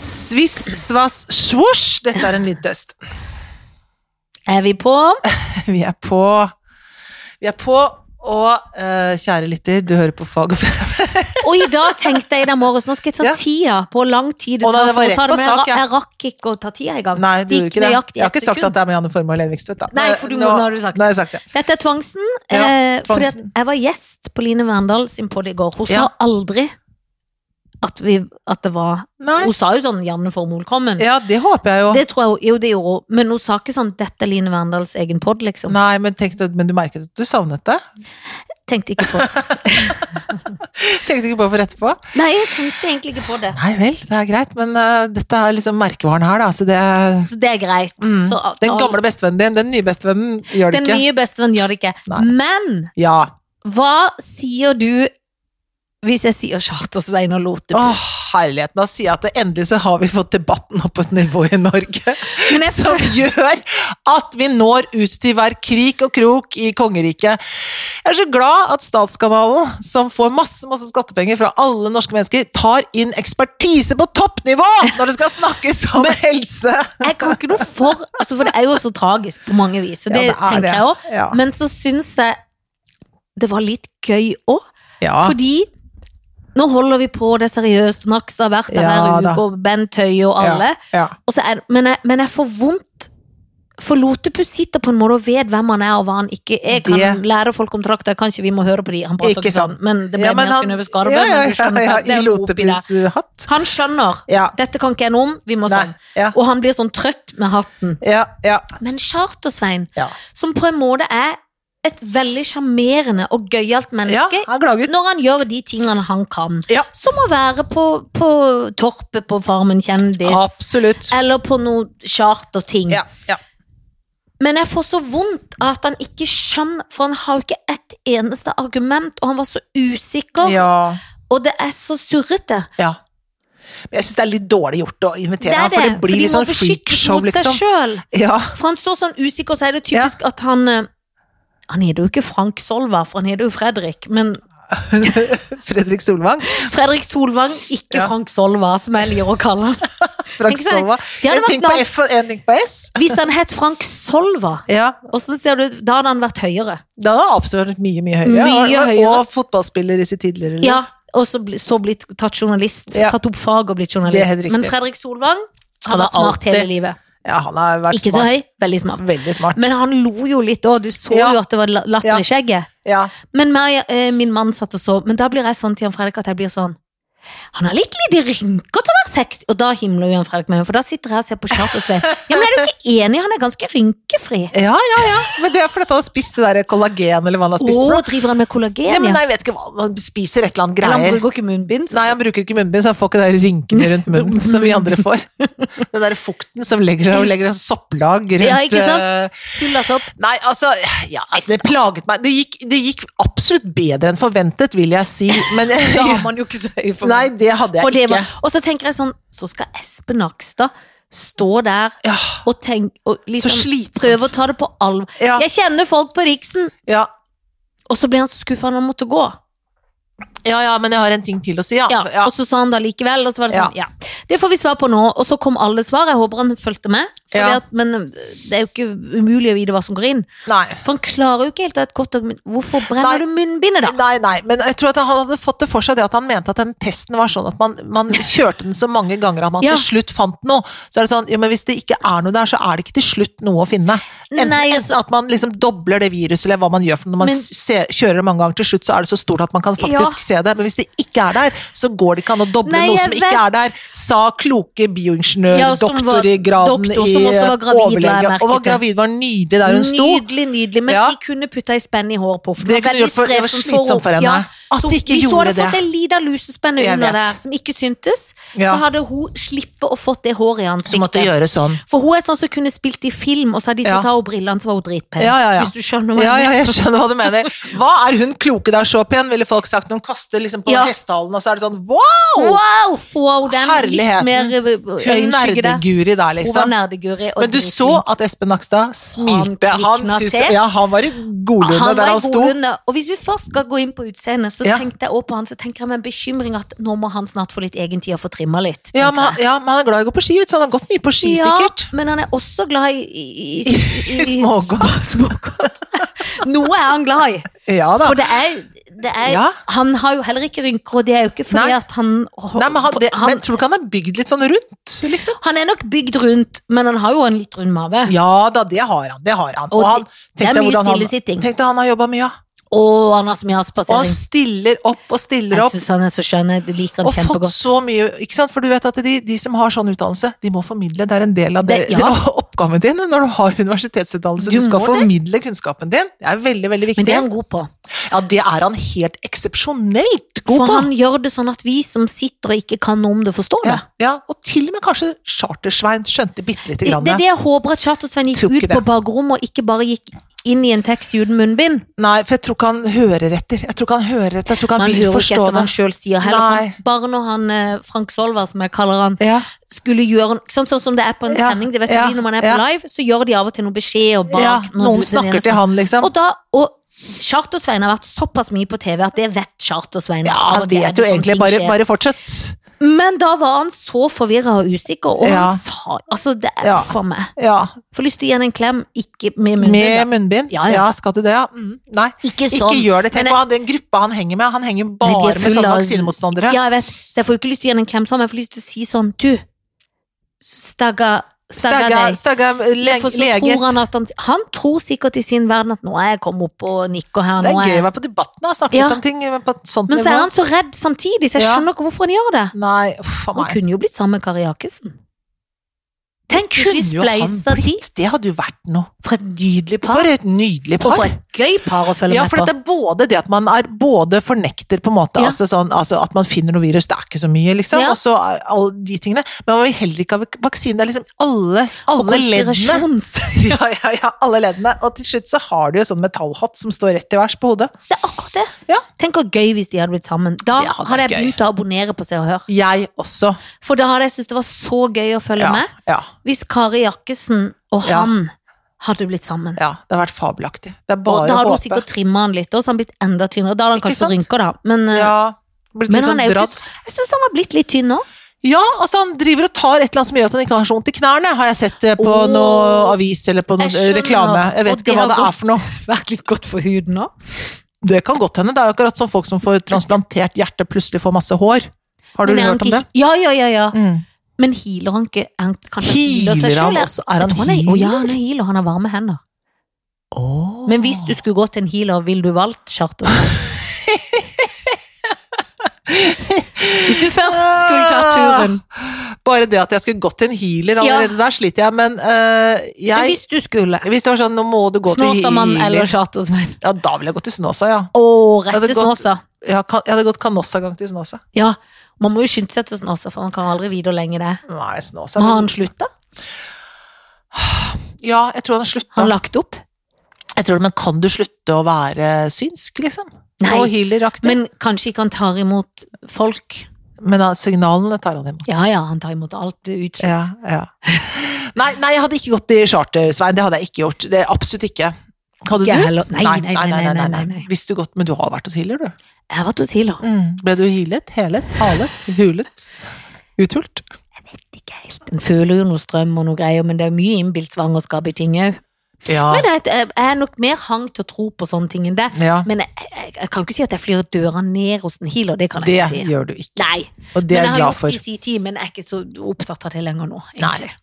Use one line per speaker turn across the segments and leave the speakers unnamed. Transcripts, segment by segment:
Sviss, svass, svosj. Dette er en lydtest.
Er vi på?
Vi er på. Vi er på, og eh, kjære lytter, du hører på Fag og Fem.
Og i dag tenkte jeg i dag morges nå skal jeg ta
Ja.
tida på hvor lang tid
Å, nei, det
tar for
var
å
rett
ta
på
men
sak,
jeg,
ja.
ra- jeg rakk ikke å ta tida i gang.
Nei, du gjorde
Gikk
ikke det.
nøyaktig
Jeg har
ett
ikke sagt
sekund.
at det er med Janne Formoe og Lene Vikstvedt, da.
Nei, for du- nå har du sagt
Nå har jeg sagt det.
Dette er Tvangsen.
Ja,
eh, fordi at
Tvangsen.
jeg var gjest på Line Verndal sin podd i går. Hun
Ja.
sa aldri at, vi, at det var
Nei.
Hun sa jo sånn 'Janne Formoe, velkommen'.
Ja, det håper jeg jo.
Det tror jeg hun- Jo, det gjorde hun. Men hun sa ikke sånn 'Dette er Line Verndals egen podd', liksom.
Nei, men, tenkte, men du merket at du savnet det?
Tenkte ikke på det.
Tenkte ikke på å få rett på?
Nei, jeg tenkte egentlig ikke på det.
Nei vel, det er greit, men eh, dette er liksom merkevaren her, da. Så det er
Så det er greit.
mm.
Så at-
Den gamle bestevennen din, den nye bestevennen, gjør det
den
ikke.
nye bestevennen gjør det ikke.
Nei.
Men
Ja.
hva sier du hvis jeg sier Chartersvein og Lote?
Å, herligheten. Da sier jeg at det, endelig så har vi fått debatten opp på et nivå i Norge
Men jeg
som gjør at vi når ut til hver krik og krok i kongeriket. Jeg er så glad at Statskanalen, som får masse masse skattepenger fra alle norske mennesker, tar inn ekspertise på toppnivå når det skal snakkes om helse!
Jeg kan ikke noe for altså For det er jo så tragisk på mange vis, og det,
Ja, er
tenker jeg òg.
Ja.
Men så syns jeg det var litt gøy òg,
Ja.
fordi nå holder vi på, det er seriøst, og Nakstad har vært der
Ja,
hver
da.
uke, og Bent Høie og alle.
Ja.
Og så er, men, jeg, men jeg får vondt. For Lotepus sitter på en måte og vet hvem han er og hva han ikke er. Jeg kan
Det-
lære folk om trakter, kanskje vi må høre på de. Han prater
Ikke
ikke sånn,
sant.
men det ble
Ja, men
mer
han-
Synnøve Skarbø.
Ja, ja,
men du
ja,
skjønner
ja,
hva- det
I
er noe oppi der.
lotepushatt.
Han skjønner.
Ja.
Dette kan ikke jeg noe om, vi må
Nei.
sånn.
Ja.
Og han blir sånn trøtt med hatten.
Ja, ja,
Men Charter-Svein,
ja.
som på en måte er et veldig sjarmerende og gøyalt
ja
menneske
han glaget.
når han gjør de tingene han kan.
Ja.
Som å være på, på Torpet på Farmen kjendis,
Absolutt.
eller på noe charterting.
Ja, ja.
Men jeg får så vondt av at han ikke skjønner, for han har jo ikke ett eneste argument, og han var så usikker,
ja.
og det er så surrete.
Ja. Men jeg syns det er litt dårlig gjort å
Det
invitere
er
ham,
det,
for det blir litt
må
sånn
beskyttes
freakshow,
mot seg
liksom.
sjøl.
Ja,
For han står sånn usikker, så er det typisk at han eh, Han heter jo ikke Frank Solvar, for han heter jo Fredrik, men
Fredrik Solvang.
Fredrik Solvang, ikke
Ja.
Frank Solvar, som jeg liker å kalle han.
Frank
Ikke sant?
Solvang.
Det hadde
En ting
vært
på
navn-
F og en ting på S.
Hvis han het Frank Solvar,
Ja,
hvordan ser du, da hadde han vært høyere.
Da hadde han absolutt vært mye, mye høyere.
Mye
Og-
høyere.
Og fotballspiller i sitt tidligere liv.
Ja, og så, bli, så blitt tatt journalist.
Ja.
Tatt opp fag og blitt
Det er helt
journalist.
riktig.
Men Fredrik Solvang
Han
har
har
vært smart
alltid
hele livet.
Ja, han har vært
Ikke så
smart.
høy, veldig smart.
Veldig smart.
Men han lo jo litt òg, du så
Ja.
jo at det var la- latter
Ja.
i skjegget.
Ja.
Men meg, eh, min mann satt og så, men da blir jeg sånn til Jan Fredrik at jeg blir sånn han har litt lite rynker til å være 60, og da himler jo Jan Fredrik med meg, for da sitter jeg og ser på Charter-Svein. Ja, men er du ikke enig? Han er ganske rynkefri.
ja, ja, ja. Men det er fordi at han har spist det der kollagen, eller hva han har spist. for
Å,
noe.
driver han med kollagen,
Ja, men
ja?
jeg vet ikke hva Han spiser et eller annet
Eller han
greier.
bruker ikke munnbind? så-
Nei, han bruker ikke munnbind, så han får ikke de rynkene rundt munnen som vi andre får. Den der fukten som legger og legger en sopplag rundt
Ja, ikke sant?
eh,
Fyller seg opp.
Nei, altså, ja, altså Det plaget meg. Det gikk, det gikk absolutt bedre enn forventet, vil jeg si. Men
Da har man jo ikke så høy
Nei, det hadde
For
jeg
det
ikke.
var, og så tenker jeg sånn, så skal Espen Nakstad stå der
Ja,
og tenke og
så
liksom
slitsomt.
prøve å ta det på alvor.
Ja,
Jeg kjenner folk på Riksen,
ja.
og så ble han så skuffa når han måtte gå.
ja, ja, men jeg har en ting til å si, ja.
Ja,
ja.
Og så sa han da likevel, og så var det sånn, ja. Det får vi svar på nå, og så kom alle svar. Jeg håper han fulgte med, fordi
Ja.
at, men eh, det er jo ikke umulig å vite hva som går inn.
Nei.
For han klarer jo ikke helt å ha et godt argument. Hvorfor brenner
Nei.
du munnbindet, da?
Nei, nei, men jeg tror at han hadde fått det for seg det at han mente at den testen var sånn at man, man kjørte den så mange ganger at man
Ja.
til slutt fant noe. Så er det sånn, ja, men hvis det ikke er noe der, så er det ikke til slutt noe å finne. Enten,
Nei, altså-
enten at man liksom dobler det viruset, eller hva man gjør, for når man
Men-
se, kjører det mange ganger til slutt, så er det så stort at man kan faktisk
Ja.
se det. Men hvis det ikke er der, så går det ikke an å doble
Nei,
noe
jeg
som ikke
vet.
er der, sa kloke bioingeniør,
Ja, som var-
doktor i graden
doktor,
i
som også var gravid, la jeg
overlege.
merke
Og var
til.
gravid, var nydelig der hun sto.
Nydelig, nydelig. Men
Ja.
de kunne putta ei spenn i håret på. For
Det
var
kunne gjort for- det
veldig
var
strevsomt
slitsomt for henne.
Ja.
At
Så
de ikke
Hvis hun hadde
gjorde
fått
det.
ei lita lusespenne
Jeg
under
vet.
der som ikke syntes,
Ja.
så hadde hun slippet å fått det håret i
Som måtte
ansiktet.
gjøre sånn.
For hun er sånn som kunne spilt i film, og så hadde de
Ja.
tatt av henne brillene, så var hun dritpen.
Ja, ja, ja.
Hvis du skjønner hva
Ja,
jeg
ja,
mener.
jeg skjønner hva du mener. Hva er hun kloke der så pen, ville folk sagt. Hun kaster liksom på
Ja.
hestehalen, og så er det sånn wow!
Wow! Få henne den
Herligheten.
litt mer ø,
Hun
øyenskygge der.
nerdeguri der,
Hun var
liksom.
nerdeguri. og
Men du
dritflink.
så at Espen Nakstad smilte.
Han
Han,
klikna
syntes-
til.
ja, han var i godlunde
han
der
var
han
i
sto.
godlunde. Og hvis vi først skal gå inn på utseendet, så
Ja.
tenkte jeg også på han, så tenker jeg med en bekymring at nå må han snart få litt egen tid og få trimma litt.
Ja,
tenker
men, han-
jeg.
ja, men han er glad i å gå på ski, vet du, så han har gått mye på ski,
Ja,
sikkert.
men han er også glad i, i, i,
I smågodt.
Noe er han glad i.
Ja da.
For det er, det er
Ja.
Han har jo heller ikke rynker, og det er jo ikke fordi
Nei.
at han
Nei, men, han, det,
han,
men tror du ikke han er bygd litt sånn rundt, liksom?
han er nok bygd rundt, men han har jo en litt rund mage.
Ja da, det har han. Det har han. Og
Og
han
det
tenk
er
deg
mye
hvordan han-
stillesitting.
Tenk deg han har jobba mye, ja.
Å, han har så mye
Og han
avspasering.
stiller opp og stiller
Jeg
opp.
syns han er så skjønn. Jeg liker
Og
han
fått
kjempegodt.
så mye, ikke sant? For du vet at de, de som har sånn utdannelse, de må formidle. Det er en del av det,
Det- ja.
oppgaven din når du har universitetsutdannelse. Du,
Du
skal
må det.
formidle kunnskapen din. Det er veldig, veldig viktig.
Men det er han god på.
Ja, det er han helt eksepsjonelt god
For
på.
han gjør det sånn at vi som sitter og ikke kan noe om det, forstår
ja,
det.
ja, og til og med kanskje Chartersvein skjønte bitte lite
Det,
grann.
det er det jeg håper at Charter-Svein gikk
Tror ikke
ut på
det.
bakrommet og ikke bare gikk inn i en taxi uten munnbind.
Nei, for jeg tror ikke han hører etter. Jeg tror ikke han hører etter. Jeg tror ikke han
Man
vil
hører ikke
forstå
etter hva
det.
han sjøl sier heller.
Nei.
for Bare når han eh, Frank Solvar, som jeg kaller han,
Ja,
skulle gjøre ikke sant, Sånn som det er på en
Ja,
sending, det vet
ja,
vi når man er på
ja.
live, så gjør de av og til noen beskjeder bak.
ja, noen
når du- den ene
snakker til han, liksom.
Og da, og Charter-Svein har vært såpass mye på TV at det vet Charter-Svein.
Ja,
Av
han
og til er
vet
det
jo
sånne
egentlig
ting
bare,
skjer.
bare fortsett.
Men da var han så forvirra og usikker, og
Ja.
han sa Altså, det er
Ja.
for meg.
Ja,
Får lyst til å gi han en klem, ikke med
med
munnen.
munnbind.
Ja,
Ja,
ja.
skal du det, ja? Mm, nei.
Ikke
Ikke
sånn.
gjør det. Tenk
Men
på han- den gruppa han henger med. Han henger
Nei, de
bare
er
med
full
sånne
av-
vaksinemotstandere.
Ja, jeg vet. Så jeg får jo ikke lyst til å gi han en klem sånn, men jeg får lyst til å si sånn Du, stagga, stagga
Stagga,
deg.
stagga le
For så tror han
leget.
at han Han tror sikkert i sin verden at nå er jeg kommet opp og nikker her,
Det
nå
er
er
gøy å
jeg
være på debatten og snakke
Ja.
litt om ting men på et sånt
Men så
nivå.
er han så redd samtidig, så jeg
Ja.
skjønner ikke hvorfor han gjør det.
Nei, uff a
Han
meg.
kunne jo blitt sammen med Kari Jakesen. Tenk hvis vi
Kunne jo han
spleiser de
blitt- Det hadde jo vært noe.
for et nydelig par.
For et nydelig
Og for
par.
et gøy par å følge
Ja,
med
for
på.
det er både det at man er både fornekter på en måte,
Ja.
altså sånn, altså at man finner noe virus, det er ikke så mye, liksom,
Ja.
og så er alle de tingene. Men man vil heller ikke ha vak- vaksine. Det er liksom alle, alle leddene.
Konspirasjons-
Ja, ja, ja, alle leddene. Og til slutt så har de jo sånn metallhatt som står rett i vers på hodet.
Det er akkurat det.
Ja.
Tenk hvor gøy hvis de hadde blitt sammen. Da
Det hadde
hadde,
vært
jeg begynt å abonnere på Se og Hør.
Jeg også.
For da hadde jeg syntes det var så gøy å følge
Ja,
med.
ja,
Hvis Kari Jakkesen og
Ja.
han hadde blitt sammen.
ja. Det har vært fabelaktig. Det er
Og
bare
da
å
hadde hun
håpe.
sikkert trimma han litt, og så han blitt enda tynnere. Da hadde han
Ikke
kanskje
sant?
rynker, da. Men, eh,
Ja, blitt
men
litt
han
sånn
er jo
dratt.
ikke Jeg syns han var blitt litt tynn nå.
Ja, altså han driver og tar et eller annet som gjør at han ikke har så vondt i knærne, har jeg sett eh, på
Åh.
noe avis eller på noe
Jeg skjønner.
reklame. Jeg
Og
vet
det
ikke hva
har
det
gått-
er for noe.
Vært litt godt for huden nå.
Det kan godt hende. Det er jo akkurat som folk som får transplantert hjerte, plutselig får masse hår. Har du
Men er han
hørt om det?
ikke- Ja, ja, ja, ja.
Mm.
Men healer han ikke? Er han, kanskje healer
Healer
seg selv?
han
ja?
også? Er
Jeg
han
tror han er, Å ja, han
healer?
er healer, han har varme hender.
Åh.
Men hvis du skulle gått til en healer, ville du valgt charter? hvis du først skulle tatt turen.
Bare det at jeg skulle gått til en healer
Ja.
allerede der, sliter jeg, men eh,
Men
jeg
hvis du skulle.
Hvis det var sånn, nå må du gå til
Snåsamann eller
healer
chartersvein?
Ja, da ville jeg gått til Snåsa, ja.
Å,
Ja,
rett
det er
til
godt.
Snåsa.
Jeg har kan- jeg hadde gått Canossa-gang til Snåsa.
Ja, man må jo skynde seg til Snåsa, for man kan aldri vite hvor lenge det er.
Nei, Snåsa
Men har han slutta?
Ja, jeg tror han har slutta.
Han lagt opp?
Jeg tror det, men kan du slutte å være synsk, liksom?
Nei.
Og healeraktig? Men,
Men kanskje ikke han tar imot folk?
ah, signalene tar han imot.
Ja ja, han tar imot alt det er utslett.
Ja, ja. Nei, nei, jeg hadde ikke gått i charter, Svein. Det hadde jeg ikke gjort. Det Absolutt ikke. Hadde
Ikke jeg
du?
heller. Nei, nei, nei, nei, nei, nei, nei.
Visste du godt, men du har vært hos healer, du.
Jeg har vært hos healer.
Mm. Ble du healet, helet, halet, hulet, uthult?
Ikke helt. En føler jo noe strøm og noe greier, men det er mye innbilt svangerskap i ting òg.
Ja.
Men jeg, jeg er nok mer hang til å tro på sånne ting enn det.
ja.
Men jeg, jeg, jeg kan ikke si at jeg flyr døra ned hos en healer, det kan
Det
jeg ikke si.
gjør du ikke,
Nei,
og det
men
er jeg
jeg har
glad
gjort det
for.
i sin tid, men jeg er ikke så opptatt av det lenger nå.
Jeg
Egentlig.
er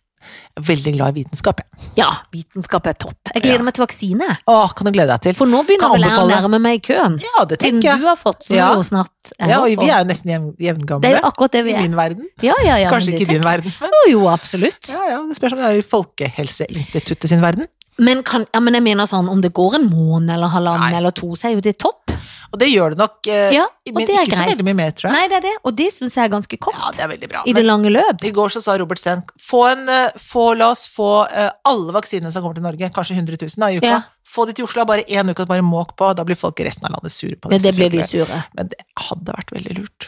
Veldig glad i vitenskap, jeg.
Ja, vitenskap er topp. Jeg gleder
Ja.
meg til vaksine,
Å, kan du glede deg til?
for nå begynner
Kan
vel jeg å
anbefale.
nærme meg i køen.
Ja, det
Siden
tenker jeg.
du har fått, så
Ja.
er jo snart jeg
Ja,
har
og vi
fått.
er jo nesten jevn-
Det er
jevngamle.
jo akkurat det
I
vi er.
min verden.
Ja, ja, ja,
Kanskje
men
ikke i
det
din
tenker
verden, men
jeg Jo, absolutt.
ja, ja, det spørs om det er i Folkehelseinstituttet sin verden.
Men, kan, ja, men jeg mener sånn, om det går en måned eller halvannen
Nei.
eller to, så er jo det topp.
Og det gjør det nok, eh,
Ja, og
men
det er
ikke så
greit.
veldig mye mer, tror jeg.
Nei, det er det, og det syns jeg er ganske kort.
Ja, det er veldig bra.
I det
Men
lange løp.
i går så sa Robert Steen få en, eh, få, la oss få eh, alle vaksinene som kommer til Norge, kanskje 100 000 da, i uka.
Ja.
Få de til Oslo, bare én uke, og bare måk på. Da blir folk i resten av landet sure på det.
Men det blir de
selvfølgelig.
sure.
Men det hadde vært veldig lurt.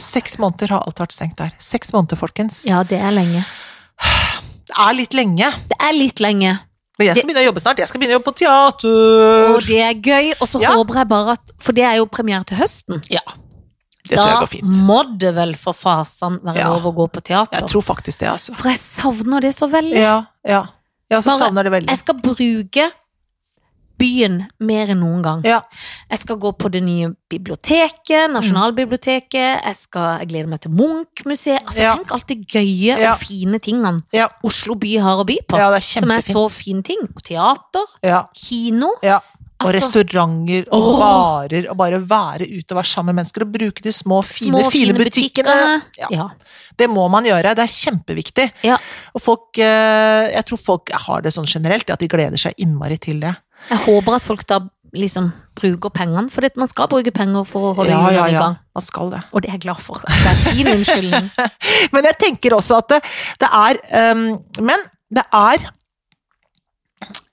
Seks måneder har alt vært stengt der. Seks måneder, folkens.
Ja, det er lenge.
Det er litt lenge.
Det er litt lenge.
Men jeg skal begynne å jobbe snart. Jeg skal begynne å jobbe på teater.
Og det er gøy, og så
Ja.
håper jeg bare at For det er jo premiere til høsten.
Ja. Det tror jeg går fint.
Da må det vel for fasan være
Ja.
lov å gå på teater.
Jeg tror faktisk det, altså.
For jeg savner det så veldig.
Ja, ja. Jeg også
Bare-
savner det veldig.
Jeg skal bruke byen mer enn noen gang.
Ja. Mm.
Jeg skal gå på det nye biblioteket, Nasjonalbiblioteket. Jeg, skal, jeg gleder meg til Munch-museet. Altså,
Ja.
Tenk alt det gøye
Ja.
og fine tingene
Ja.
Oslo by har å by på.
ja, det er
som er så
kjempefint.
fine ting. Og teater,
Ja.
kino.
Ja. Og
Altså,
restauranter og
Åh.
barer, og bare være ute og være sammen med mennesker og bruke de små, fine,
små,
fine, butikkene. Ja.
Ja.
Det må man gjøre, det er kjempeviktig.
Ja.
Og folk, eh, jeg tror folk har det sånn generelt, at de gleder seg innmari til det.
Jeg håper at folk da liksom bruker pengene, for det- man skal bruke penger for å holde
Ja,
hjulene
ja,
i
ja.
gang.
Man skal det.
Og det er jeg glad for. Det er fin unnskyldning.
Men jeg tenker også at det, det er ehm, Men det er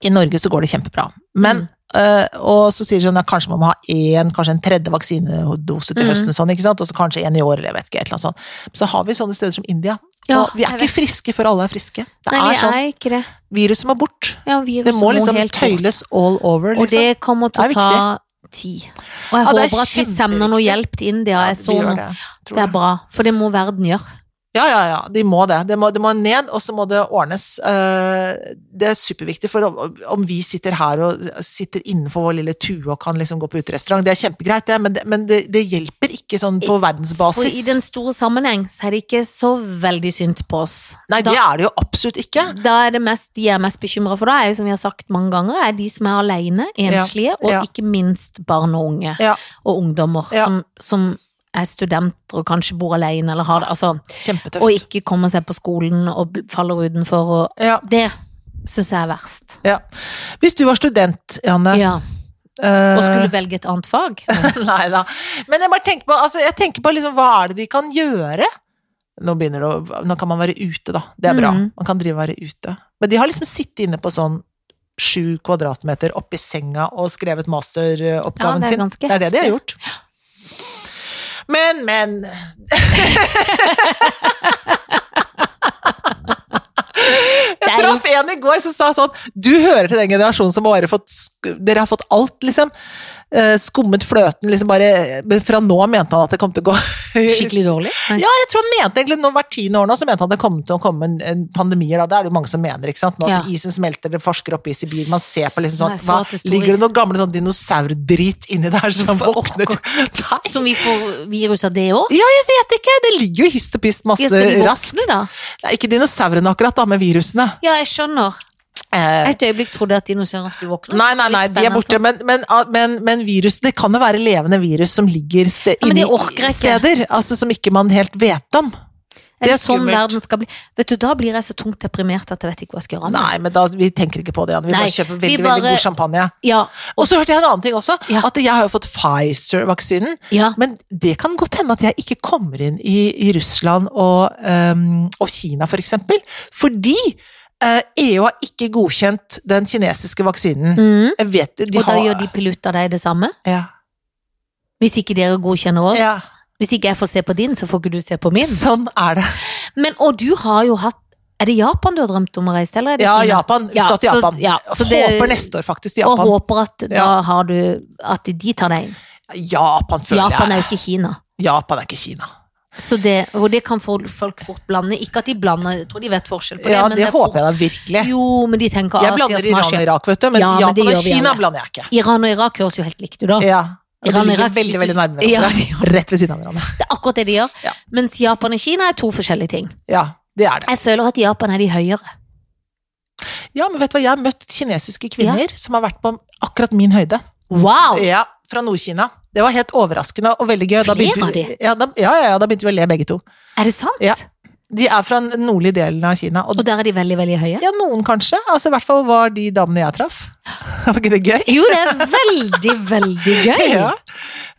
I Norge så går det kjempebra. Men
Mm.
eh, og så sier de sånn at kanskje man må ha én, kanskje en tredje vaksinedose til
Mm.
høsten, sånn, ikke sant? og så kanskje en i året, jeg vet ikke, et eller annet sånt. Men så har vi sånne steder som India.
Ja,
og vi er
jeg
ikke friske før alle er friske. Det
Nei,
er
vi
sånn,
er ikke det.
Viruset må bort.
Ja, viruset
Det må liksom
helt bort.
tøyles all over.
Og
Liksom.
det kommer til
Det
å
er
ta tid. Og jeg
Ja, det er
håper at vi sender noe
kjempeviktig.
hjelp til India. Jeg så
gjør
noe.
det, tror
Det
jeg.
er bra, for det må verden gjøre.
Ja, ja, ja. De må det. Det må, det må ned, og så må det ordnes. Eh, Det er superviktig, for om- om vi sitter her og sitter innenfor vår lille tue og kan liksom gå på uterestaurant, det er kjempegreit, det, men det, men det, det hjelper ikke sånn på
For i
verdensbasis.
den store sammenheng så er det ikke så veldig synd på oss.
Nei, det er det jo absolutt ikke.
Da er det mest, de jeg er mest bekymra for, da er jo som vi har sagt mange ganger, er de som er alene, enslige,
ja.
og ikke minst barn og unge.
Ja.
Og ungdommer
Ja.
som, som er studenter og kanskje bor alene, eller har det altså, Og
Kjempetøft.
ikke kommer seg på skolen og bl- faller utenfor og
Ja,
Det syns jeg er verst.
ja. Hvis du var student, Janne
Ja.
eh,
Og skulle velge et annet fag.
Nei da. Men jeg bare tenker på, altså, jeg tenker på liksom, hva er det vi kan gjøre? Nå, begynner det å, nå kan man være ute, da. Det er bra.
Mhm.
Man kan drive og være ute. Men de har liksom sittet inne på sånn sju kvadratmeter oppi senga og skrevet
Ja,
masteroppgaven
det er
sin.
ganske
Det er det de har
heftig.
gjort. Men, men Jeg
er jo-
traff en i går som sa sånn Du hører til den generasjonen som bare har fått sk- Dere har fått alt, liksom. Eh, Skummet fløten, liksom bare men Fra nå av mente han at det kom til å gå
Skikkelig dårlig. Nei.
Ja, jeg tror han mente egentlig nå hvert tiende år nå, så mente han det kom til å komme en, en pandemier, da. Det er det jo mange som mener, ikke sant. Nå at
Ja.
isen smelter, det forsker oppe i Sibir, man ser på liksom sånn
Nei, så
hva,
at det sto
Ligger
i-
det noe gamle sånn dinosaurdrit inni der som
Hvorfor
våkner
orker-
Nei,
Som vi får virus av det òg?
ja, jeg vet ikke! Det ligger jo hist og pist
Ja,
masse
skal de
rask.
våkne, da?
Nei, ikke dinosaurene akkurat, da, men virusene.
Ja, jeg skjønner.
Eh,
Et øyeblikk trodde jeg at dinosaurene skulle våkne.
Nei, nei,
Litt
nei, de er
spennende, altså.
borte, men, men, ah, men, men virus, det kan jo være levende virus som ligger ste
Ja, men
inni
det orker jeg ikke.
steder, altså som ikke man helt vet om.
sånn.
det
Er det
er
sånn
skummelt.
verden skal bli? Vet du, Da blir jeg så tungt deprimert at jeg vet ikke hva jeg skal gjøre. av meg.
Nei, men da, vi tenker ikke på det, Jan. Vi
Nei,
bare kjøper
vi
veldig,
bare-
veldig god champagne.
Ja,
Og så hørte jeg en annen ting også,
Ja.
at jeg har jo fått Pfizer-vaksinen,
ja.
men det kan godt hende at jeg ikke kommer inn i, i Russland og, ehm, og Kina for eksempel, fordi eh, EU har ikke godkjent den kinesiske vaksinen.
Mm.
Jeg vet det, de
Og da
har...
gjør de piloter deg det samme?
Ja.
Hvis ikke dere godkjenner oss?
Ja.
Hvis ikke jeg får se på din, så får ikke du se på min?
Sånn er det.
Men, og du har jo hatt Er det Japan du har drømt om å reise til, eller er det
Ja,
Kina?
Japan. Vi
Ja,
skal til
så-
Japan.
ja, så det-
Håper neste år faktisk til
Og
Japan.
håper at da
Ja.
har du At de tar deg inn.
Japan føler
Japan er
jeg.
jo ikke Kina.
Japan er ikke Kina.
Så det, og det kan fol- folk fort blande. Ikke at de blander, jeg tror de vet forskjell på det.
Ja,
men
det
er
håper
fort-
jeg da virkelig.
Jo, men de tenker
Jeg
Asias
blander Iran og
marsjer.
Irak, vet du, men
Ja, men det
Japan
gjør
og
vi
Kina
alle.
blander jeg ikke.
Iran og Irak høres jo helt likt ut, da.
Ja. Og de
Iran og
ligger
Irak,
veldig,
hvis
veldig
du-
nærme
Ja,
hverandre.
de gjør
Rett ved siden av hverandre.
Det er akkurat det de gjør.
Ja.
Mens Japan og Kina er to forskjellige ting.
Ja, det er det.
Jeg føler at i Japan er de høyere.
Ja, men vet du hva, jeg har møtt kinesiske kvinner som har vært på akkurat min høyde.
Wow!
Ja, fra Nord-Kina. Det var helt overraskende og veldig gøy.
Flere
begynte
av
vi,
de?
ja, da, ja, ja, ja, da begynte vi å le begge to.
Er det sant?
Ja. De er fra den nordlige delen av Kina, og
Og der er de veldig, veldig høye?
Ja, noen kanskje. Altså, I hvert fall var de damene jeg traff. Var ikke det gøy?
Jo, det er veldig, veldig gøy.
Ja,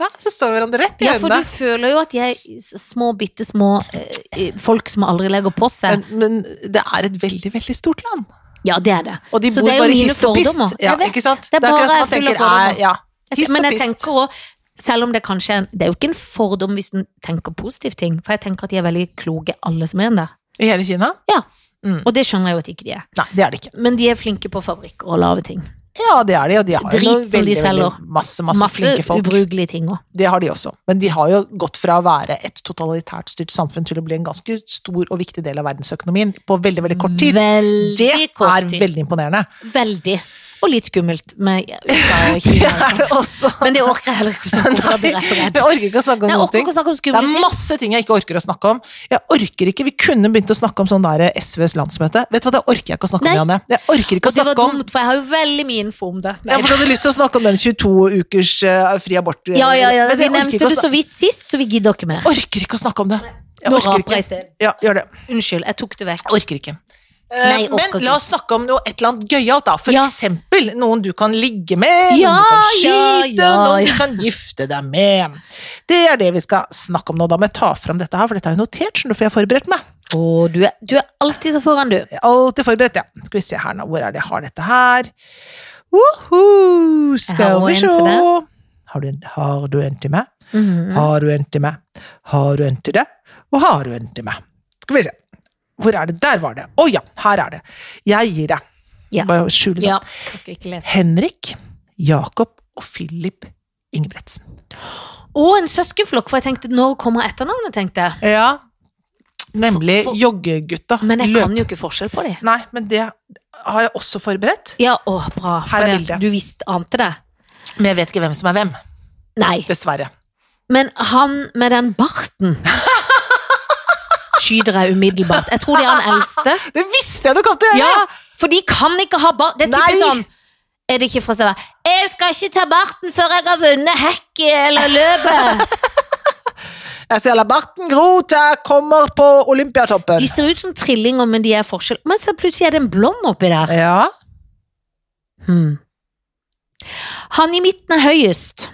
ja så så vi hverandre rett i
Ja, for
øynene.
du føler jo at de er små, bitte små eh, folk som aldri legger på seg.
Men, men det er et veldig, veldig stort land.
Ja, det er det.
Og de
Så
bor
det er jo
bare
mine
hist og pist.
fordommer.
Ja,
Jeg vet.
ikke sant?
Det er
akkurat som
bare
man
jeg er full av
tenker,
fordommer.
eh, Ja,
Jeg-
hist
Men
og
jeg
pist.
tenker også, selv om det kanskje er en, Det er jo ikke en fordom hvis du tenker positive ting, for jeg tenker at de er veldig kloke, alle som er en der.
I hele Kina?
Ja.
Mm.
Og det skjønner jeg jo at ikke de er.
Nei, det er det ikke.
Men de er flinke på fabrikker og lage ting.
Ja, det er de, og de har jo
Drit
noen
som de
veldig, veldig
selger.
masse, masse,
Masse
flinke folk.
ubrukelige ting òg.
Det har de også. Men de har jo gått fra å være et totalitært styrt samfunn til å bli en ganske stor og viktig del av verdensøkonomien på veldig, veldig kort tid.
Veldig
det
kort
er
tid.
veldig imponerende.
Veldig. Og litt skummelt med USA og
Det
Kina.
er
og
det
sånt.
også.
Men det orker jeg heller ikke å snakke om. for da blir Jeg så
Nei,
redd.
jeg orker ikke å snakke om
Nei, jeg
noen
orker
ting.
ikke å snakke om
Det er
skumle ting.
masse ting jeg ikke orker å snakke om. Jeg orker ikke, Vi kunne begynt å snakke om sånn der SVs landsmøte. Vet du hva, Det orker jeg ikke å snakke om.
Nei.
Janne. Jeg orker ikke å
Og det var
snakke om
dumt, for jeg har jo veldig mye info om det.
ja, for Du hadde lyst til å snakke om den 22 ukers eh, fri abort
Ja, ja, ja.
Men jeg
Vi
orker
nevnte
ikke,
det
å
så
sna-
vidt sist, så vi gidder ikke mer.
orker ikke å snakke om det. Jeg
Nå
orker
raper jeg i
ikke.
sted.
Ja, gjør det.
Unnskyld, jeg tok det vekk.
Jeg orker ikke. Eh,
Nei, jeg orker
Men la oss snakke om noe et eller annet gøyalt, da. For
Ja.
eksempel noen du kan ligge med,
Ja,
noen du kan
ja,
skyte,
ja,
noen
ja.
du kan gifte deg med. Det er det vi skal snakke om nå. Da må jeg ta fram dette her, for dette har jeg notert, skjønner du, for jeg har forberedt meg.
Å, du, er- du er alltid så foran, du.
Jeg er alltid forberedt, ja. Skal vi se her nå, hvor er det jeg har dette her? Uhu,
Jeg har
skal
også
vi
en
se.
til Mhm.
Har du, en, har du en til meg? Har du en til meg? Har du en til deg? Og har du en til meg? Skal vi se. Hvor er det? Der var det. Å ja, her er det. Jeg gir deg.
Ja.
Bare skjule sånn.
Ja, jeg skal ikke lese.
Henrik, Jakob og Philip Ingebretsen.
Å, en søskenflokk, for jeg tenkte, når kommer etternavnet, tenkte jeg.
Ja. Nemlig
For- for-
joggegutta.
Men jeg
Løp-
kan jo ikke forskjell på dem.
Nei, men det har jeg også forberedt.
Ja, å, bra.
Her
For
er
det,
bildet.
du visste, ante det.
Men jeg vet ikke hvem som er hvem.
Nei.
Dessverre.
Men han med den barten Skyter jeg umiddelbart. Jeg tror det er han eldste.
Det visste jeg du kom til! å gjøre!
Ja, for de kan ikke ha bart. Det er typisk
Nei.
sånn. Er det ikke fra stedet? Jeg skal ikke ta barten før jeg har vunnet hekket eller løpet.
Jeg ser Labarten Groth jeg kommer på Olympiatoppen.
De ser ut som trillinger, men de er forskjell. Men så plutselig er det en blond oppi der.
Ja.
Hmm. Han i midten er høyest.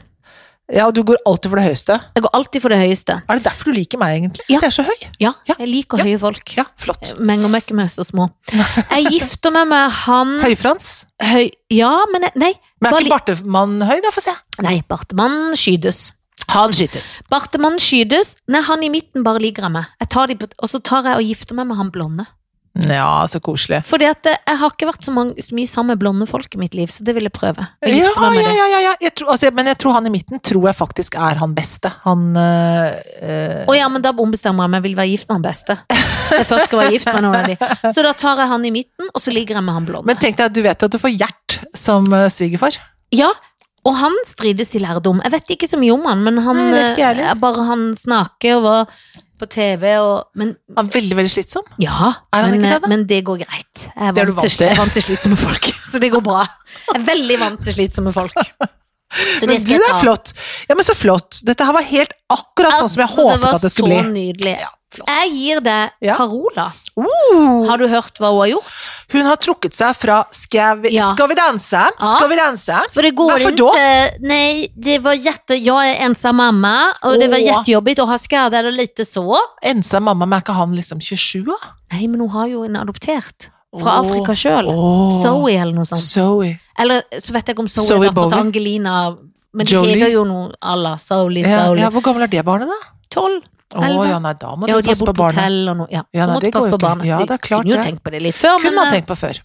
ja, og du går alltid for det høyeste.
Jeg går alltid for det høyeste.
Er det derfor du liker meg, egentlig?
Ja.
At jeg er så høy?
Ja, Eh,
Ja,
jeg liker
ja.
høye folk.
Ja, flott.
Menger meg ikke med så små. Jeg gifter meg med han
Høyfrans?
høy... Ja, men jeg... Nei.
Men
Bare
er ikke Bartemann høy, da? Få se.
Nei, Bartemann skytes.
Han skytes.
Bartemann skytes. Nei, han i midten bare ligger jeg med. Jeg tar de på, og så tar jeg og gifter meg med han blonde.
Ja, så koselig.
Fordi at eh, jeg har ikke vært så, mange, så mye sammen med blonde folk i mitt liv, så det vil jeg prøve. Å
Ja,
gifte meg med
ja,
det.
ja, ja, ja. Jeg tror, altså, men jeg tror han i midten tror jeg faktisk er han beste. Han øh, øh,
Å ja, men da ombestemmer jeg meg, jeg vil være gift med han beste. Så jeg først skal være gift med noen av de. Så da tar jeg han i midten, og så ligger jeg med han blonde.
Men tenk deg, at du vet jo at du får Gjert som øh, svigerfar.
Ja, og han strides i lærdom. Jeg vet ikke så mye om han, men han,
Nei, jeg vet ikke jeg heller.
eh, bare han snakker og var på TV og Men
Han er veldig, veldig slitsom.
Ja,
Er han
men, eh,
ikke det, da?
men det går greit. Jeg er
Det er du
vant, til,
vant til.
jeg er vant til slitsomme folk, så det går bra. Jeg er veldig vant til slitsomme folk. Så det
Men du
skal jeg
er
ta.
flott! Ja, men så flott. Dette her var helt akkurat sånn som jeg
Altså,
håpet at det skulle
var så
bli.
nydelig.
Ja, flott.
Jeg gir deg
Ja.
Carola.
Oh,
Har du hørt hva hun har gjort?
hun har trukket seg fra Skal vi,
Ja.
skal vi danse? Skal vi danse?
For det går eh,
Hvorfor
ikke Nei, det var jätte... Jeg er ensam mamma, og det var
Åh.
jättejobbigt å ha skader og lite så.
Ensa mamma, men er ikke han liksom 27, da?
Nei, men hun har jo en adoptert fra
Åh.
Afrika sjøl.
Åh.
Zoe eller noe sånt.
Zoe.
Eller så vet jeg ikke om Zoe,
Zoe
er datter
Bowie.
til Angelina Men det
Jolie.
heter jo noe à la Zoe,
Ja, ja,
Zoe.
hvor gammel er det barnet, da?
Tolv?
Å
Elleve.
ja, nei, da må
Ja, og
du
de har
passe
bort
på barnet.
hotell og noe. Ja,
Ja,
så
nei,
måtte
det går
passe på
jo ikke.
barnet.
Ja,
De
det er klart
Kunne jo
det.
tenkt på det litt før,
Kunne
men
han
eh,
tenkt på før.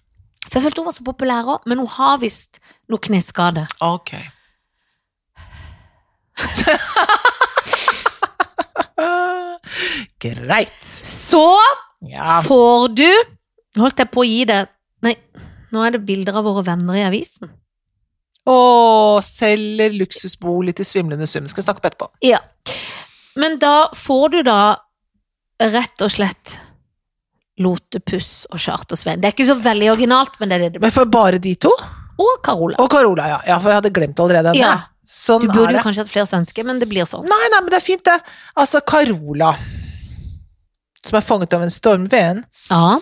for jeg følte hun var så populær òg. Men hun har visst noe kneskade.
Ok. Greit.
Så
Ja.
får du Holdt jeg på å gi det Nei, nå er det bilder av våre venner i avisen.
Å, selger luksusbolig til svimlende sum. Det skal vi snakke om etterpå.
Ja. Men da får du da rett og slett Lotepuss og Charter-Svein. Det er ikke så veldig originalt, men det er det det blir.
Men for bare de to?
Og Carola.
Og Carola, ja. ja for jeg hadde glemt allerede henne.
Ja.
Sånn
Du burde
er
jo
det.
kanskje hatt flere svenske, men det blir sånn.
Nei, nei, men det er fint, det. Altså, Carola som er fanget av en stormvind.
Ja,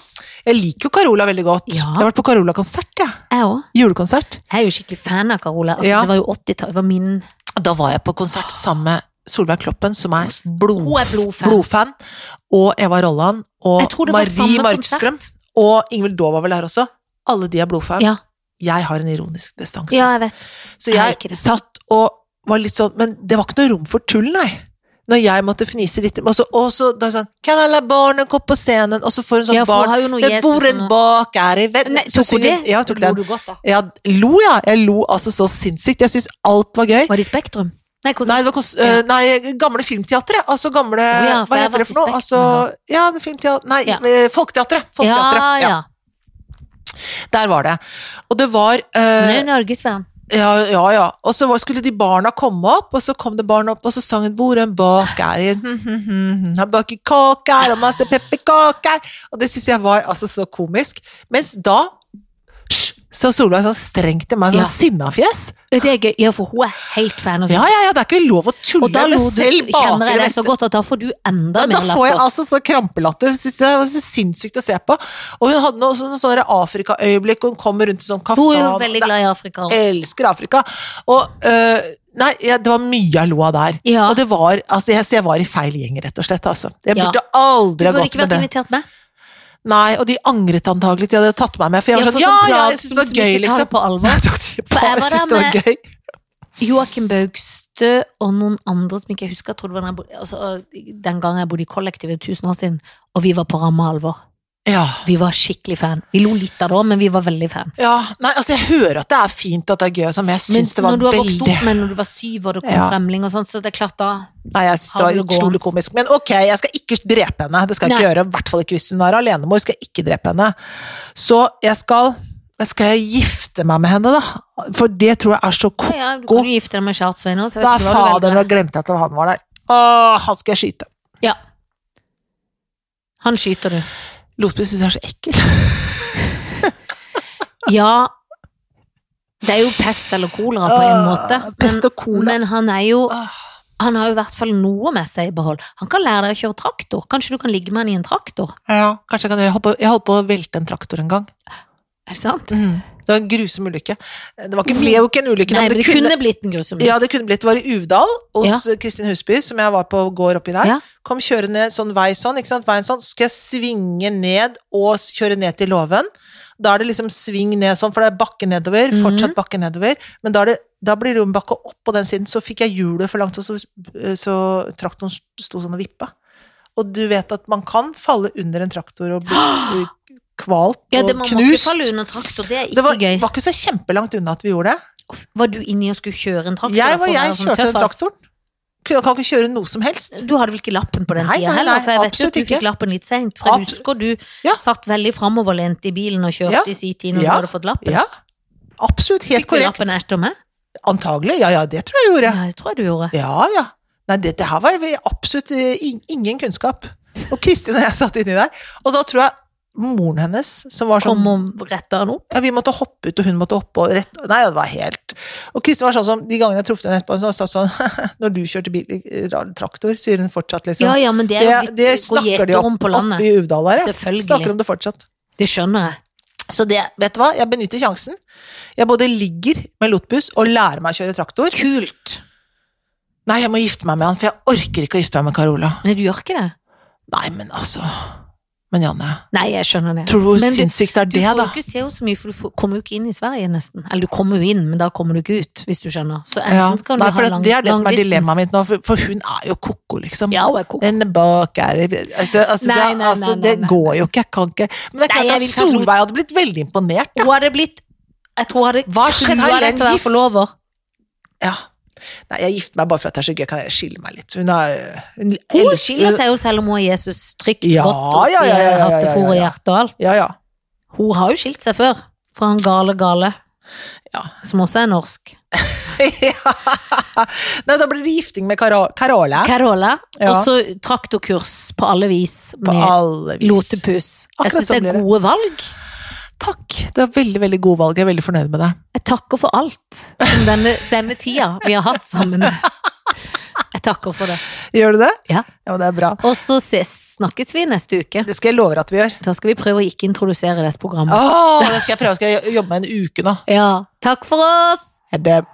Jeg liker jo Carola veldig godt.
Ja.
Jeg har vært på Carola-konsert, jeg. Ja.
jeg òg.
Julekonsert.
Jeg er jo skikkelig fan av Carola. Altså,
Ja.
Det var jo 80-tallet. Det var min
Da var jeg på konsert sammen med Solveig Kloppen, som er, blod,
Hun er blodfan.
blodfan, og Eva Rolland,
Jeg tror
og
det var
Marie
samme
Markstrøm,
konsert.
og Ingvild Daav var vel der også. Alle de er blodfan.
Ja.
Jeg har en ironisk distanse.
ja, jeg vet.
Så
jeg er ikke
jeg
det.
satt og var litt sånn Men det var ikke noe rom for tull, nei. når jeg måtte fnise litt Og så, og så da er det sånn Kan alle barna gå på scenen? Og så får hun sånn
Ja, for hun
barn
har jo noe
Det
Jesus
bor en
og noe-
bak her i vent
Nei,
så
tok hun
synger-
det?
Ja, jeg tok
Lo
den.
du godt, da?
Ja, lo, ja. Jeg lo altså så sinnssykt. Jeg syns alt var gøy.
Var det i Spektrum? Nei,
Nei,
hvordan?
det var kons øh, nei, gamle filmteatret. Altså gamle
Å ja, for
Hva
jeg
heter det
har
for noe?
vært i
Altså, ja, det filmteater... Nei,
Ja.
eh, Folketeatret. Folketeatret.
ja,
Ja,
ja.
Der var det. Og det var
Hun er
eh,
jo norgesvenn.
Ja, ja. ja. Og så var, skulle de barna komme opp, og så kom det barn opp, og så sang hun 'Bor en Hm, baker i Han baker kaker og masse pepperkaker'. Og det syns jeg var altså så komisk. Mens da sj, så Solveig sånn strengt til meg, sånn
Ja.
sinnafjes.
Det er gøy, ja, for hun er helt fan av
Ja, ja, ja, det er ikke lov å
Og da
tulle med
lo du,
selv
kjenner jeg
bakere
det så godt at da får du enda
Ja,
mer
Da får jeg
latter.
altså så krampelatter. Jeg synes Det var så sinnssykt å se på. Og hun hadde noe sånn sånne Afrika-øyeblikk, og hun kommer rundt i sånn kaftan.
Hun er jo veldig glad i Afrika.
Jeg elsker Afrika. Og øh, Nei, ja, det var mye jeg lo av der.
Ja.
Og det var Altså, jeg, så jeg var i feil gjeng, rett og slett, altså. Jeg
Ja.
burde
Du
aldri ha
burde
gått
ikke
med
vært
det.
invitert med.
Nei, og de angret antagelig de hadde tatt meg med, for jeg
Ja,
var
for
sånn
sånn
Ja, ja,
plagg
jeg synes
som
det var
som
gøy,
ikke tar det
liksom.
på alvor.
Jeg tok det ikke
For
på,
jeg
jeg
var
synes
der
det var gøy.
Joakim Baugstø og noen andre som ikke jeg husker, jeg trodde var den, jeg bodde, altså, den gangen jeg bodde i kollektivet tusen år siden, og vi var på ramme alvor.
Ja.
Vi var skikkelig fan. Vi lo litt av det òg, men vi var veldig fan.
ja. Nei, altså, jeg hører at det er fint at det er gøy, og sånn, men jeg
Men
syns det var
når du har vokst
veldig
opp med når du var syv og det kom
Ja.
fremling og sånn, så det er klart da
Nei, jeg synes det var
Hadde det gående.
utrolig komisk. Men ok, jeg skal ikke drepe henne. Det skal jeg
Nei.
ikke gjøre. I hvert fall ikke hvis hun er alenemor. skal jeg ikke drepe henne. Så jeg skal men Skal jeg gifte meg med henne, da? For det tror jeg er så
ja,
ko...
ja, Du kan jo gifte deg med Charles Svein òg, så jeg
Da
vet
er
ikke hva du
faderen og
velger.
glemte jeg at han var der. Å, han skal jeg skyte.
Ja. Han skyter du.
Lotby syns jeg er så ekkel.
Ja. Det er jo pest eller kolera på en måte.
Åh,
Men,
Pest og cola.
men han er jo
Åh,
Han har jo i hvert fall noe med seg i behold. Han kan lære deg å kjøre traktor. Kanskje du kan ligge med han i en traktor?
ja, kanskje jeg kan gjøre Jeg holdt på- Jeg holdt på å velte en traktor en gang.
Er det sant?
Det var en grusom ulykke. Det var ikke, ble jo ikke en ulykke,
Mhm. Nei,
men
men det kunne blitt en grusom
Ja, det kunne blitt. Det var i Uvdal, hos Kristin Husby, som jeg var på gård oppi der.
Ja.
Kom kjørende ned sånn vei sånn, ikke sant? Veien sånn, så skal jeg svinge ned og s- kjøre ned til låven. Da er det liksom sving ned sånn, for det er bakke nedover,
Mhm.
fortsatt bakke nedover. Men da, er det, da blir det jo en bakke opp på den siden. Så fikk jeg hjulet for langt, og så, eh, så traktoren sto sånn og vippa. Og du vet at man kan falle under en traktor og bli eh, kvalt
Ja, det,
og
man må ikke
knust.
falle under traktor, det er ikke
Det var,
gøy.
var ikke så kjempelangt unna at vi gjorde det.
Uff, Var du inni og skulle kjøre en traktor? da,
Jeg,
for
var,
å
jeg
være sånn
kjørte den
tøff, ass?
traktoren. Kan kan ikke kjøre noe som helst.
Du hadde vel ikke lappen på den
Nei,
tida
nei,
heller,
nei,
for jeg vet jo
absolutt
at du
ikke.
fikk lappen litt seint. For jeg
Abs-
husker du
Ja.
satt veldig framoverlent i bilen og kjørte
Ja.
i sin tid når
Ja.
du hadde fått lappen.
Ja, absolutt. Helt
Fikk du
korrekt.
lappen etter meg?
Antagelig. Ja, ja, det tror jeg jeg gjorde.
Ja, det tror jeg du gjorde.
Ja, ja. Nei, dette her var jeg absolutt eh, in- ingen kunnskap. Og Kristin og jeg satt inni der. Og da tror jeg moren hennes, som var sånn
Kom og retta den opp.
ja, Vi måtte hoppe ut, og hun måtte hoppe og rett Nei, det var helt Og Kristin var sånn som de gangene jeg traff henne etterpå, så sa hun sånn Når du kjørte bil, eh, rar traktor, sier hun fortsatt, liksom.
Ja, ja, men det er jo
det,
litt
det
gå
snakker de
gjeter om
opp,
på
opp
landet.
i Uvdal her, ja.
Selvfølgelig.
Snakker om det fortsatt.
Det skjønner jeg.
Så det, vet du hva, jeg benytter sjansen. Jeg både ligger med Lotbus og lærer meg å kjøre traktor.
Kult.
Nei, jeg må gifte meg med han, for jeg orker ikke å gifte meg med Carola.
Men du gjør ikke det?
Nei, men altså Men Janne,
Nei, jeg skjønner det.
tror du hvor
Men du-
sinnssykt er
Du
det,
får
da?
jo ikke se henne så mye, for du får- kommer jo ikke inn i Sverige nesten. Eller du kommer jo inn, men da kommer du ikke ut, hvis du skjønner. Så enten
Ja.
kan
Nei,
du ha
for det,
lang,
det er det som er
langdistans.
dilemmaet mitt nå, for, for hun er jo ko-ko, liksom.
Ja, hun er koko.
En bak er altså, altså,
Nei,
det,
nei,
altså,
nei, nei,
det
nei,
går jo ikke, jeg kan ikke Men det er
Nei,
klart
jeg
at
vil kanskje-
Solveig hadde blitt veldig imponert.
Hun hadde blitt Jeg tror hun hadde
Hva skjedde?
trua deg til å
Gift?
være forlover.
Ja. Nei, jeg gifter meg bare for at det er så gøy, kan jeg skille meg litt. Hun er Hun,
Hun
elsker-
skiller seg jo selv om hun har Jesus trygt
Ja,
godt opp
ja, ja, ja, ja,
i
ja, ja,
hattefôr og
ja.
hjerte og alt.
Ja, ja.
Hun har jo skilt seg før, fra han gale gale,
Ja.
som også er norsk.
ja. Nei, da blir det gifting med Caro- Carola.
Carola,
Ja.
og så traktorkurs på alle vis
På
med
alle vis.
lotepus.
Akkurat
Jeg syns
sånn
det
blir
er
det.
gode valg.
Takk. Det var veldig veldig gode valg. Jeg er veldig fornøyd med det.
Jeg takker for alt som denne, denne tida vi har hatt sammen. Jeg takker for det.
Gjør du det?
Ja.
Ja, men Det er bra.
Og så ses, snakkes vi neste uke.
Det skal jeg love deg at vi gjør.
Da skal vi prøve å ikke
Ah,
introdusere dette programmet.
Åh, det skal jeg prøve. Skal jeg jobbe med en uke nå.
Ja. Takk for oss!
Er det